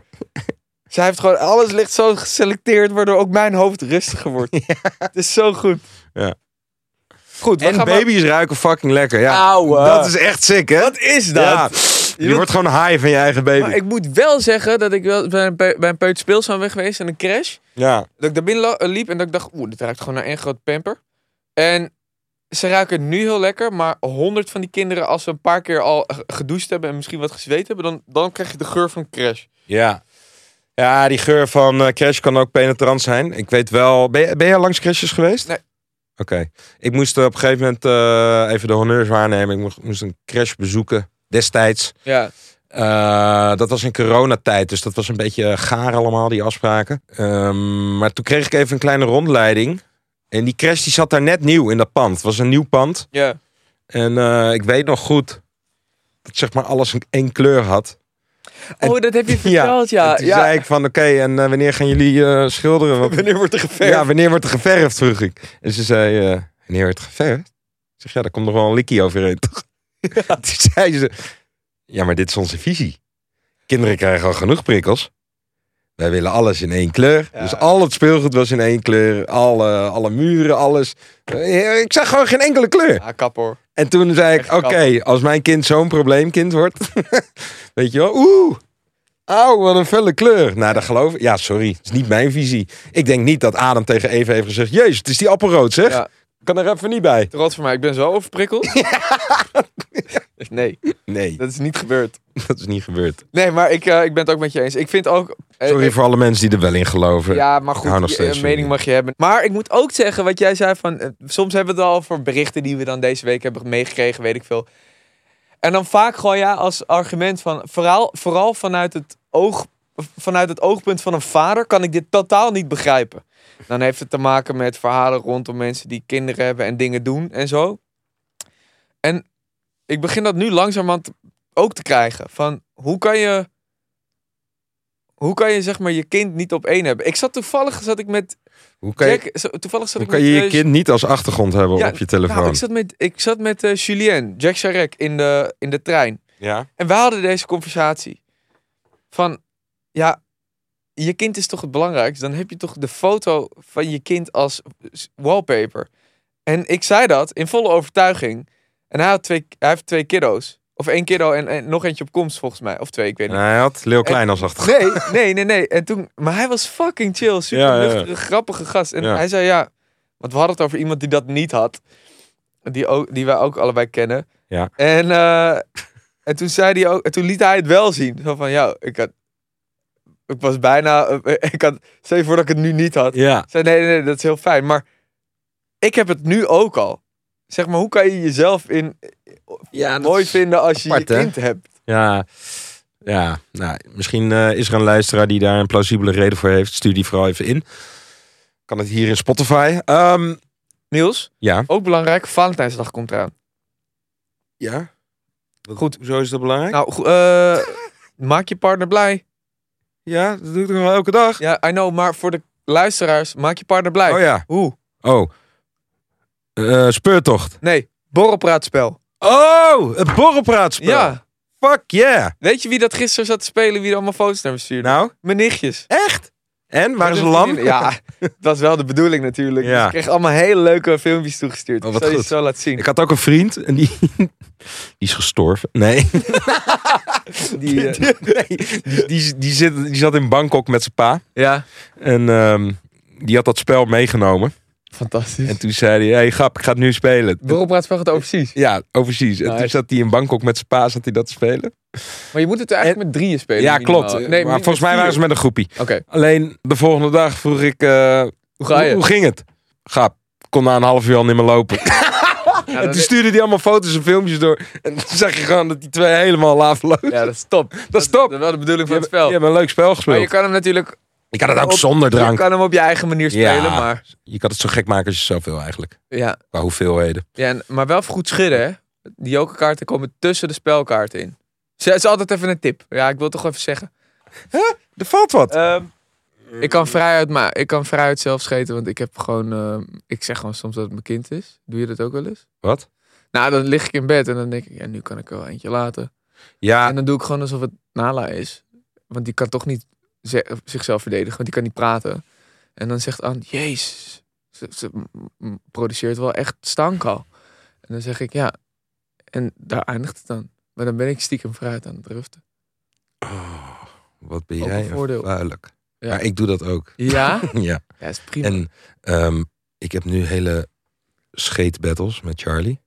Speaker 4: Zij heeft gewoon... Alles ligt zo geselecteerd, waardoor ook mijn hoofd rustiger wordt.
Speaker 5: *laughs*
Speaker 4: Het is zo goed.
Speaker 5: Ja.
Speaker 4: Goed, we
Speaker 5: En
Speaker 4: gaan maar-
Speaker 5: baby's ruiken fucking lekker. Ja,
Speaker 4: Auwe.
Speaker 5: dat is echt sick, hè?
Speaker 4: Wat is dat?
Speaker 5: Ja, je
Speaker 4: moet-
Speaker 5: wordt gewoon high van je eigen baby.
Speaker 4: Maar ik moet wel zeggen dat ik wel bij een, pe- bij een peut speelzaam weg geweest en een crash.
Speaker 5: Ja.
Speaker 4: Dat ik daar binnen lo- liep en dat ik dacht, oeh, dit ruikt gewoon naar één groot pamper. En ze ruiken nu heel lekker, maar honderd van die kinderen, als ze een paar keer al g- gedoucht hebben en misschien wat gezweet hebben, dan, dan krijg je de geur van crash.
Speaker 5: ja. Ja, die geur van eh, Crash kan ook penetrant zijn. Ik weet wel... Ben, je- ben jij langs Crashes geweest?
Speaker 4: Nee.
Speaker 5: Oké. Ik moest eh, op een gegeven moment eh, even de honneurs waarnemen. Ik moest, moest een Crash bezoeken destijds.
Speaker 4: Ja.
Speaker 5: Eh, dat was in coronatijd, dus dat was een beetje gaar allemaal, die afspraken. Ehm, maar toen kreeg ik even een kleine rondleiding. En die crash die zat daar net nieuw in dat pand. Het was een nieuw pand.
Speaker 4: Ja.
Speaker 5: En eh, ik weet nog goed dat zeg maar alles een- één kleur had. En-
Speaker 4: oh, dat heb je
Speaker 5: *laughs* Ja,
Speaker 4: verteld, ja.
Speaker 5: en
Speaker 4: Ja.
Speaker 5: toen zei ik van, oké, en eh, wanneer gaan jullie eh, schilderen?
Speaker 4: *laughs*
Speaker 5: Want-
Speaker 4: Wanneer wordt er geverfd?
Speaker 5: ja, wanneer wordt er geverfd, vroeg ik. En ze zei, eh, wanneer wordt er geverfd? Ik zeg, ja, daar komt nog wel een likkie overheen,
Speaker 4: *laughs*
Speaker 5: toch? *laughs* Toen zei ze, ja, maar dit is onze visie. Kinderen krijgen al genoeg prikkels. Wij willen alles in één kleur.
Speaker 4: Ja.
Speaker 5: Dus al het speelgoed was in één kleur. Alle, alle muren, alles. Eh, Ik zag gewoon geen enkele kleur.
Speaker 4: Ah, kap hoor.
Speaker 5: En toen zei ik,
Speaker 4: Echt
Speaker 5: oké,
Speaker 4: knap.
Speaker 5: als mijn kind zo'n probleemkind wordt. *laughs* weet je wel, oeh. Auw, wat een felle kleur. Nou, dat geloof ik. Ja, sorry. Het is niet mijn visie. Ik denk niet dat Adam tegen Eva heeft gezegd... Jezus, het is die appelrood, zeg.
Speaker 4: Ja.
Speaker 5: Kan er even niet bij.
Speaker 4: Rot voor mij, ik ben zo
Speaker 5: *laughs*
Speaker 4: overprikkeld. Nee,
Speaker 5: Nee, *laughs*
Speaker 4: dat is niet gebeurd.
Speaker 5: dat is niet gebeurd.
Speaker 4: Nee, maar ik, eh, ik ben het ook met je eens. Ik vind ook... eh,
Speaker 5: Sorry
Speaker 4: eh,
Speaker 5: voor alle mensen die er wel in geloven.
Speaker 4: Ja, maar
Speaker 5: hou nog
Speaker 4: goed, je-
Speaker 5: steeds
Speaker 4: een
Speaker 5: van
Speaker 4: mening
Speaker 5: jullie.
Speaker 4: mag je hebben. Maar ik moet ook zeggen, wat jij zei van... eh, soms hebben we het al voor berichten die we dan deze week hebben meegekregen, weet ik veel. En dan vaak gewoon ja, als argument van... Vooral, vooral vanuit, het oog, vanuit het oogpunt van een vader kan ik dit totaal niet begrijpen. Dan heeft het te maken met verhalen rondom mensen die kinderen hebben en dingen doen en zo. En ik begin dat nu langzamerhand ook te krijgen. Van hoe kan je hoe kan je zeg maar je kind niet op één hebben? Ik zat toevallig zat ik met
Speaker 5: Hoe kan je,
Speaker 4: Jack, zo- toevallig zat
Speaker 5: hoe
Speaker 4: ik
Speaker 5: kan
Speaker 4: met
Speaker 5: je je
Speaker 4: eh,
Speaker 5: kind niet als achtergrond hebben
Speaker 4: Ja,
Speaker 5: op je telefoon?
Speaker 4: nou, ik zat met ik zat met eh, Julien, Jack Charek in de in de trein
Speaker 5: Ja.
Speaker 4: en we hadden deze conversatie van ja je kind is toch het belangrijkste. Dan heb je toch de foto van je kind als s- wallpaper. En ik zei dat in volle overtuiging. En hij, had twee, hij heeft twee kiddo's. Of één kiddo en, en nog eentje op komst volgens mij. Of twee, ik weet niet.
Speaker 5: En hij had Leeuw Klein als achtergrond.
Speaker 4: Eh, Nee, nee, nee, nee. En toen, maar hij was fucking chill, super
Speaker 5: Ja, ja, ja.
Speaker 4: nuchtere, grappige gast. En
Speaker 5: Ja.
Speaker 4: hij zei ja, want we hadden het over iemand die dat niet had, die, ook, die wij ook allebei kennen.
Speaker 5: Ja.
Speaker 4: En, eh, en toen zei hij ook, en toen liet hij het wel zien, zo van ja, ik had, ik was bijna, eh, *laughs* ik had, stel je voor dat ik het nu niet had.
Speaker 5: Ja.
Speaker 4: Ik zei nee, nee, nee, dat is heel fijn, maar ik heb het nu ook al. Zeg maar, hoe kan je jezelf in
Speaker 5: ja
Speaker 4: mooi vinden als je
Speaker 5: apart,
Speaker 4: je
Speaker 5: hè?
Speaker 4: kind hebt?
Speaker 5: Ja, ja nou, misschien eh, is er een luisteraar die daar een plausibele reden voor heeft. Stuur die vooral even in. Kan het hier in Spotify? Ehm,
Speaker 4: Niels,
Speaker 5: ja.
Speaker 4: ook belangrijk, Valentijnsdag komt eraan.
Speaker 5: Ja. Goed.
Speaker 4: Goed.
Speaker 5: Hoezo is dat belangrijk?
Speaker 4: Nou, go- eh, maak je partner blij.
Speaker 5: ja, dat doe ik toch wel elke dag?
Speaker 4: Ja, I know, maar voor de luisteraars, maak je partner blij.
Speaker 5: Oh ja.
Speaker 4: Hoe?
Speaker 5: Oh. Eh, speurtocht.
Speaker 4: Nee, borrelpraatspel.
Speaker 5: Oh, het borrelpraatspel.
Speaker 4: Ja.
Speaker 5: Fuck yeah.
Speaker 4: Weet je wie dat gisteren zat te spelen, wie er allemaal foto's naar me stuurde?
Speaker 5: Nou,
Speaker 4: Mijn nichtjes.
Speaker 5: echt? En, waren
Speaker 4: Met
Speaker 5: ze
Speaker 4: hun
Speaker 5: lam?
Speaker 4: vriendinnen. Ja, dat was wel de bedoeling natuurlijk.
Speaker 5: Ja.
Speaker 4: Dus ik kreeg allemaal hele leuke filmpjes toegestuurd.
Speaker 5: Oh,
Speaker 4: Ik
Speaker 5: wat
Speaker 4: zal je
Speaker 5: goed.
Speaker 4: zo laten zien.
Speaker 5: *laughs* Ik had ook een vriend en die, *laughs* die is gestorven. Nee.
Speaker 4: Die, eh,
Speaker 5: *laughs*
Speaker 4: *laughs*
Speaker 5: nee. Die, die, die, zit, die zat in Bangkok met zijn pa.
Speaker 4: ja.
Speaker 5: En ehm, die had dat spel meegenomen.
Speaker 4: Fantastisch.
Speaker 5: En toen zei hij, hey grap, ik ga het nu spelen.
Speaker 4: De borrelpraatspel gaat over precies.
Speaker 5: Ja, oh, precies. En
Speaker 4: Nou,
Speaker 5: toen
Speaker 4: hij-
Speaker 5: zat hij in Bangkok met zijn pa, zat hij dat te spelen.
Speaker 4: Maar je moet het eigenlijk met drieën spelen.
Speaker 5: ja,
Speaker 4: minimaal.
Speaker 5: klopt.
Speaker 4: Nee,
Speaker 5: maar
Speaker 4: met
Speaker 5: volgens mij
Speaker 4: eh, vier.
Speaker 5: waren ze met een groepie.
Speaker 4: Oké,
Speaker 5: Alleen de volgende dag vroeg ik, eh,
Speaker 4: hoe ga je?
Speaker 5: hoe ging het? Grap, kon na een half uur al niet meer lopen.
Speaker 4: Ja,
Speaker 5: *laughs* en *laughs*
Speaker 4: dat,
Speaker 5: toen stuurde hij allemaal foto's en filmpjes door. En toen zag je gewoon dat die twee helemaal laag lopen.
Speaker 4: ja, dat is top. Dat,
Speaker 5: is top.
Speaker 4: Dat is wel de bedoeling
Speaker 5: Je
Speaker 4: van het
Speaker 5: hebt,
Speaker 4: spel.
Speaker 5: je hebt een leuk spel
Speaker 4: maar
Speaker 5: gespeeld.
Speaker 4: je kan hem natuurlijk
Speaker 5: ik had het ook
Speaker 4: op-
Speaker 5: zonder
Speaker 4: je
Speaker 5: drank.
Speaker 4: kan hem op je eigen manier
Speaker 5: Ja.
Speaker 4: spelen, maar...
Speaker 5: Je kan het zo gek maken als je zelf wil eigenlijk.
Speaker 4: Ja,
Speaker 5: Qua hoeveelheden.
Speaker 4: ja en- maar wel goed schudden, hè. Die jokerkaarten komen tussen de spelkaarten in. Dus dat is altijd even een tip. Ja, ik wil het toch even zeggen.
Speaker 5: Er valt wat.
Speaker 4: Eh, Ik kan vrijuit, maar ik kan vrijuit zelf scheten, want ik heb gewoon... eh, ik zeg gewoon soms dat het mijn kind is. Doe je dat ook wel eens?
Speaker 5: Wat?
Speaker 4: Nou, dan lig ik in bed en dan denk ik, ja, nu kan ik er wel eentje laten.
Speaker 5: Ja,
Speaker 4: En dan doe ik gewoon alsof het Nala is. Want die kan toch niet ze- zichzelf verdedigen, want die kan niet praten. En dan zegt Anne, jezus, ze, ze m- m- produceert wel echt stank al. En dan zeg ik, ja, en daar eindigt het dan. Maar dan ben ik stiekem fruit aan het driften.
Speaker 5: Oh, wat ben
Speaker 4: Ook
Speaker 5: jij
Speaker 4: een
Speaker 5: een
Speaker 4: voordeel.
Speaker 5: vuilik.
Speaker 4: Ja.
Speaker 5: Maar ik doe dat ook.
Speaker 4: Ja?
Speaker 5: ja.
Speaker 4: *laughs* Ja, is prima.
Speaker 5: En ehm, ik heb nu hele scheetbattles met Charlie.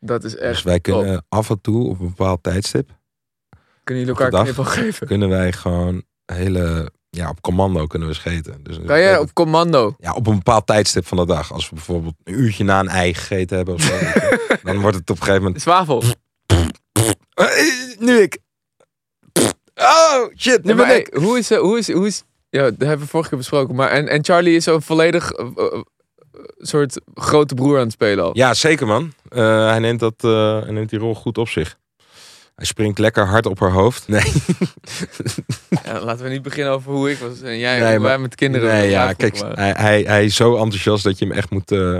Speaker 4: dat is
Speaker 5: Dus
Speaker 4: echt,
Speaker 5: wij kunnen af en toe op een bepaald tijdstip...
Speaker 4: kunnen jullie elkaar
Speaker 5: Dag.
Speaker 4: knippel geven?
Speaker 5: kunnen wij gewoon hele... Ja, op commando kunnen we scheten. Dus
Speaker 4: Kan jij op commando?
Speaker 5: Ja, op een bepaald tijdstip van de dag. Als we bijvoorbeeld een uurtje na een ei gegeten hebben
Speaker 4: *laughs*
Speaker 5: of zo. dan wordt het op een gegeven
Speaker 4: *laughs*
Speaker 5: moment...
Speaker 4: Zwavel.
Speaker 5: Eh, nu ik... Oh, shit, nu
Speaker 4: Nee, maar
Speaker 5: ben ik...
Speaker 4: hey, hoe is, eh, hoe is, hoe is, ja, dat hebben we vorige keer besproken. Maar en, en Charlie is zo'n volledig eh, eh, soort grote broer aan het spelen al.
Speaker 5: Ja, zeker man. Eh, hij, neemt dat, eh, hij neemt die rol goed op zich. Hij springt lekker hard op haar hoofd. *laughs* Nee,
Speaker 4: Ja, laten we niet beginnen over hoe ik was en jij,
Speaker 5: Nee,
Speaker 4: hoe
Speaker 5: maar-
Speaker 4: wij met kinderen. eh.
Speaker 5: nee ja,
Speaker 4: elkaar
Speaker 5: kijk, eh,
Speaker 4: voelden.
Speaker 5: hij, hij, hij is zo enthousiast dat je hem echt moet... eh,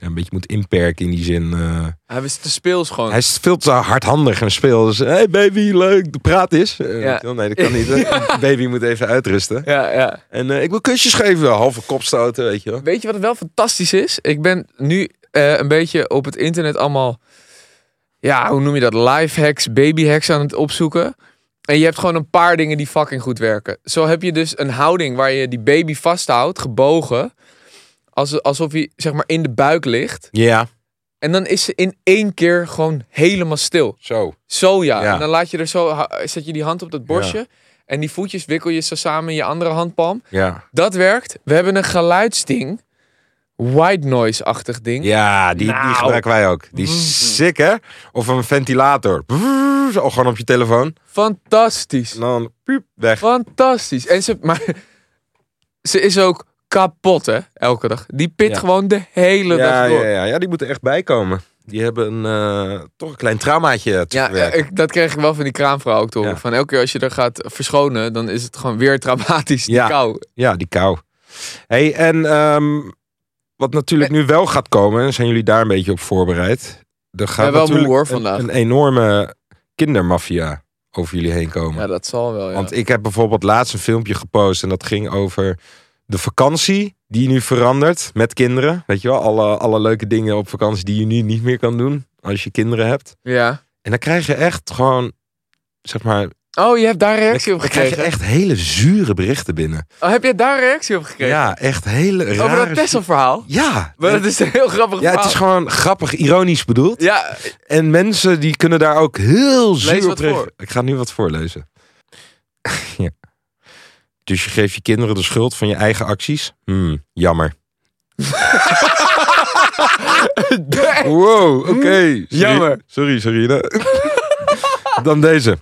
Speaker 5: ja, een beetje moet inperken in die zin. eh.
Speaker 4: hij was te speels gewoon.
Speaker 5: hij is veel te hardhandig en speel. Dus, hey baby, leuk, de praat is. Eh,
Speaker 4: Ja.
Speaker 5: Nee, dat kan
Speaker 4: *laughs*
Speaker 5: niet. hè. Baby moet even uitrusten.
Speaker 4: Ja, ja.
Speaker 5: En eh, ik wil kusjes geven. Halve kopstoten, weet je wel.
Speaker 4: Weet je wat wel fantastisch is? Ik ben nu eh, een beetje op het internet allemaal, ja, hoe noem je dat? Life hacks, baby hacks aan het opzoeken. En je hebt gewoon een paar dingen die fucking goed werken. Zo heb je dus een houding waar je die baby vasthoudt, gebogen. Als, alsof hij zeg maar in de buik ligt.
Speaker 5: Ja,
Speaker 4: En dan is ze in één keer gewoon helemaal stil.
Speaker 5: zo.
Speaker 4: Zo ja.
Speaker 5: Ja.
Speaker 4: En dan laat je er zo, ha- zet je die hand op dat borstje. En die voetjes wikkel je zo samen in je andere handpalm.
Speaker 5: Ja,
Speaker 4: Dat werkt. We hebben een geluidsding. White noise-achtig ding.
Speaker 5: ja die, die gebruiken wij ook. Die is sick, hè? Of een ventilator. Brrr, Zo, gewoon op je telefoon.
Speaker 4: Fantastisch.
Speaker 5: En dan piep, weg.
Speaker 4: Fantastisch. En ze, maar *laughs* ze is ook kapot, hè? Elke dag. Die pit
Speaker 5: Ja.
Speaker 4: gewoon de hele
Speaker 5: Ja,
Speaker 4: dag
Speaker 5: ja,
Speaker 4: door. Ja,
Speaker 5: ja, ja, die moeten echt bijkomen. Die hebben een, eh, toch een klein traumaatje te verwerken.
Speaker 4: eh, ik, dat kreeg ik wel van die kraamvrouw ook te horen.
Speaker 5: Ja.
Speaker 4: Van elke keer als je er gaat verschonen, dan is het gewoon weer traumatisch. Die
Speaker 5: Ja.
Speaker 4: kou.
Speaker 5: Ja, die kou. hey, en ehm, wat natuurlijk
Speaker 4: Eh.
Speaker 5: nu wel gaat komen, en zijn jullie daar een beetje op voorbereid? Er gaat
Speaker 4: ben wel moe,
Speaker 5: natuurlijk
Speaker 4: hoor,
Speaker 5: een-
Speaker 4: vandaag.
Speaker 5: Een, enorme kindermafia over jullie heen komen.
Speaker 4: Ja, dat zal wel, ja.
Speaker 5: Want ik heb bijvoorbeeld laatst een filmpje gepost en dat ging over de vakantie die nu verandert met kinderen. Weet je wel, alle, alle leuke dingen op vakantie die je nu niet meer kan doen als je kinderen hebt.
Speaker 4: ja.
Speaker 5: En dan krijg je echt gewoon, zeg maar,
Speaker 4: Oh, je hebt daar reactie op
Speaker 5: dan krijg
Speaker 4: gekregen?
Speaker 5: je echt hele zure berichten binnen.
Speaker 4: Oh, heb je daar reactie op gekregen?
Speaker 5: Ja, echt hele rare...
Speaker 4: Over dat Tesla-verhaal?
Speaker 5: Ja.
Speaker 4: Maar dat is een heel grappig
Speaker 5: Ja, het
Speaker 4: verhaal.
Speaker 5: is gewoon grappig, ironisch bedoeld.
Speaker 4: Ja,
Speaker 5: En mensen die kunnen daar ook heel zuur
Speaker 4: wat
Speaker 5: op reageren.
Speaker 4: voor.
Speaker 5: Ik ga nu wat voorlezen. *laughs* ja. Dus je geeft je kinderen de schuld van je eigen acties? Hmm, jammer. *laughs* Wow, oké. Sorry,
Speaker 4: Jammer.
Speaker 5: Sorry, sorry. *laughs* Dan deze.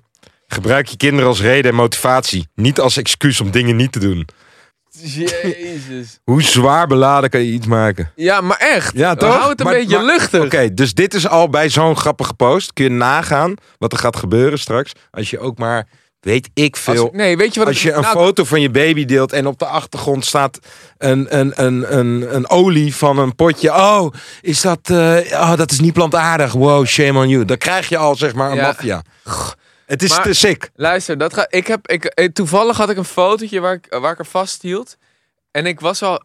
Speaker 5: Gebruik je kinderen als reden en motivatie. Niet als excuus om dingen niet te doen.
Speaker 4: *laughs* jezus.
Speaker 5: Hoe zwaar beladen kan je iets maken?
Speaker 4: Ja, maar echt.
Speaker 5: Ja, toch?
Speaker 4: Hou het een
Speaker 5: Maar-
Speaker 4: beetje
Speaker 5: maar-
Speaker 4: luchtig.
Speaker 5: Oké, dus dit is al bij zo'n grappige post. Kun je nagaan wat er gaat gebeuren straks. Als je ook maar, weet ik
Speaker 4: Als-
Speaker 5: veel. Als,
Speaker 4: nee, weet je wat
Speaker 5: je een
Speaker 4: nou,
Speaker 5: foto van je baby deelt en op de achtergrond staat een, een, een, een, een olie van een potje. Oh, is dat, eh, oh, dat is niet plantaardig. Wow, shame on you. Dan krijg je al zeg maar een
Speaker 4: Ja.
Speaker 5: maffia. Het is
Speaker 4: Maar-
Speaker 5: te sick.
Speaker 4: Luister, dat ga, ik heb, ik, eh, toevallig had ik een fotootje waar ik, waar ik er vasthield. En ik was al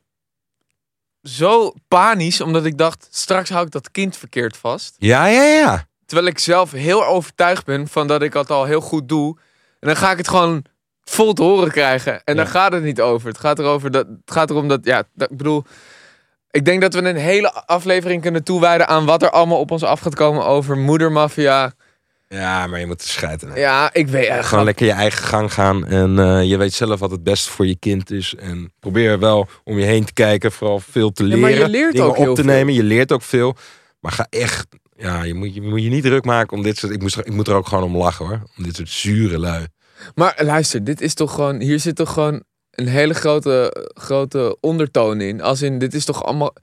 Speaker 4: zo panisch, omdat ik dacht, straks hou ik dat kind verkeerd vast.
Speaker 5: Ja, ja, ja.
Speaker 4: Terwijl ik zelf heel overtuigd ben van dat ik dat al heel goed doe. En dan ga ik het gewoon vol te horen krijgen. En dan
Speaker 5: Ja.
Speaker 4: gaat het niet over. Het gaat, erover dat, het gaat erom dat, ja, dat, ik bedoel... Ik denk dat we een hele aflevering kunnen toewijden aan wat er allemaal op ons af gaat komen over moedermafia.
Speaker 5: Ja, maar je moet er scheiden. aan.
Speaker 4: Ja, ik weet eh, echt.
Speaker 5: Gewoon lekker je eigen gang gaan. En eh, je weet zelf wat het beste voor je kind is. En probeer wel om je heen te kijken. Vooral veel te
Speaker 4: Ja,
Speaker 5: leren.
Speaker 4: maar je leert
Speaker 5: dingen
Speaker 4: ook heel
Speaker 5: op te
Speaker 4: veel.
Speaker 5: nemen. Je leert ook veel. Maar ga echt... Ja, je moet je, moet je niet druk maken om dit soort... Ik, moest, er- ik moet er ook gewoon om lachen hoor. Om dit soort zure lui.
Speaker 4: Maar luister, dit is toch gewoon. Hier zit toch gewoon een hele grote, grote ondertoon in. Als in, dit is toch allemaal.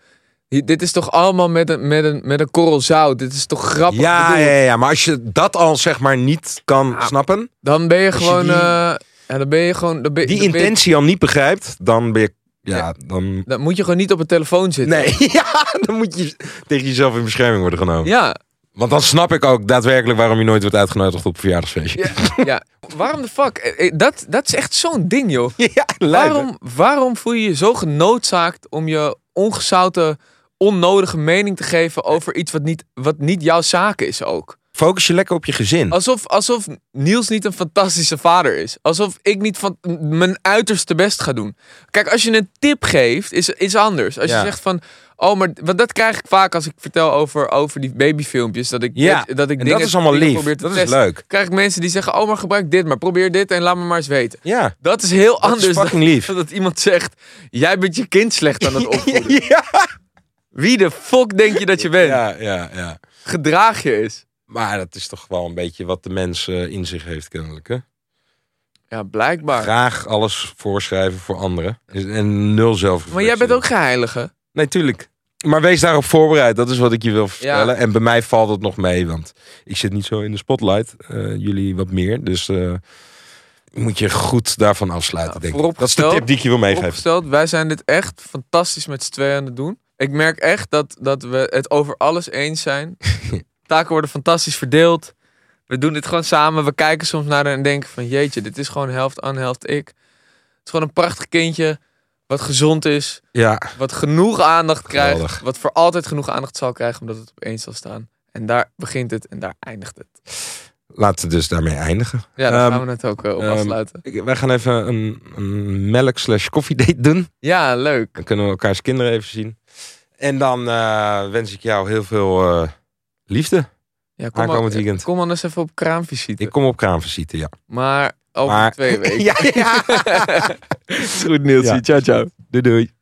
Speaker 4: hi- Dit is toch allemaal met een, met een, met een korrel zout. Dit is toch grappig.
Speaker 5: Ja,
Speaker 4: bedoeld?
Speaker 5: ja, ja, maar als je dat al zeg maar niet kan
Speaker 4: Ja.
Speaker 5: snappen,
Speaker 4: Dan ben je
Speaker 5: Als je
Speaker 4: gewoon.
Speaker 5: die-
Speaker 4: eh, ja, dan ben je gewoon. eh, Dan ben,
Speaker 5: die
Speaker 4: dan ben je-
Speaker 5: intentie al niet begrijpt, dan ben je. Ja, dan.
Speaker 4: dan moet je gewoon niet op een telefoon zitten.
Speaker 5: Nee, *laughs* ja, dan moet je tegen jezelf in bescherming worden genomen.
Speaker 4: Ja,
Speaker 5: Want dan snap ik ook daadwerkelijk waarom je nooit wordt uitgenodigd op een verjaardagsfeestje.
Speaker 4: ja, ja. Waarom de fuck? Eh, eh, Dat, dat is echt zo'n ding, joh.
Speaker 5: *laughs* Ja, lijp, hè?
Speaker 4: Waarom, waarom voel je je zo genoodzaakt om je ongezouten, onnodige mening te geven over iets wat niet, wat niet jouw zaak is ook?
Speaker 5: Focus je lekker op je gezin.
Speaker 4: Alsof, alsof Niels niet een fantastische vader is. Alsof ik niet van m- mijn uiterste best ga doen. Kijk, als je een tip geeft, is iets anders. Als
Speaker 5: Ja.
Speaker 4: je zegt van. Oh, maar want dat krijg ik vaak als ik vertel over, over die babyfilmpjes. Dat ik,
Speaker 5: Ja,
Speaker 4: dat, dat ik
Speaker 5: en
Speaker 4: dingen,
Speaker 5: dat is allemaal
Speaker 4: dingen
Speaker 5: lief.
Speaker 4: probeer te
Speaker 5: Dat is
Speaker 4: testen.
Speaker 5: leuk.
Speaker 4: Krijg ik mensen die zeggen: Oh, maar gebruik dit maar. Probeer dit en laat me maar eens weten.
Speaker 5: Ja,
Speaker 4: Dat is heel
Speaker 5: dat
Speaker 4: anders
Speaker 5: is fucking
Speaker 4: *laughs*
Speaker 5: lief. *laughs*
Speaker 4: dan dat iemand zegt: Jij bent je kind slecht aan het opvoeden.
Speaker 5: Ja,
Speaker 4: Wie de fuck denk je dat je bent?
Speaker 5: ja, ja, ja.
Speaker 4: Gedraag je eens.
Speaker 5: Maar dat is toch wel een beetje wat de mens eh, in zich heeft kennelijk, hè?
Speaker 4: Ja, blijkbaar.
Speaker 5: Graag alles voorschrijven voor anderen. En nul zelf.
Speaker 4: maar jij bent ook geheilige.
Speaker 5: Nee, tuurlijk. Maar wees daarop voorbereid. Dat is wat ik je wil vertellen. En bij mij valt het nog mee, want ik zit niet zo in de spotlight. Eh, jullie wat meer. Dus eh, moet je goed daarvan afsluiten,
Speaker 4: Ja,
Speaker 5: denk ik. Dat is
Speaker 4: vooropgesteld-
Speaker 5: de tip die ik je wil meegeven.
Speaker 4: opgesteld. Wij zijn dit echt fantastisch met z'n tweeën aan het doen. Ik merk echt dat, dat we het over alles eens zijn.
Speaker 5: *laughs*
Speaker 4: Taken worden fantastisch verdeeld. We doen dit gewoon samen. We kijken soms naar haar en denken van jeetje, dit is gewoon helft aan, helft ik. Het is gewoon een prachtig kindje. Wat gezond is.
Speaker 5: Ja,
Speaker 4: Wat genoeg aandacht krijgt.
Speaker 5: Geweldig.
Speaker 4: Wat voor altijd genoeg aandacht zal krijgen omdat het op één zal staan. En daar begint het en daar eindigt het.
Speaker 5: laten we dus daarmee eindigen.
Speaker 4: Ja, daar
Speaker 5: Ehm,
Speaker 4: gaan we het ook eh, op
Speaker 5: ehm,
Speaker 4: afsluiten.
Speaker 5: Ik- wij gaan even een, een melk slash koffiedate doen.
Speaker 4: Ja, leuk.
Speaker 5: Dan kunnen we elkaars kinderen even zien. En dan eh, wens ik jou heel veel eh, liefde.
Speaker 4: Ja, kom,
Speaker 5: Aankomend
Speaker 4: ook,
Speaker 5: weekend.
Speaker 4: kom anders even op kraamvisite.
Speaker 5: Ik kom op kraamvisite, ja.
Speaker 4: Maar over
Speaker 5: Maar- *laughs*
Speaker 4: twee weken.
Speaker 5: ja, ja.
Speaker 4: Is *laughs* goed, Niels.
Speaker 5: Ja.
Speaker 4: Ciao, ciao.
Speaker 5: Doei doei.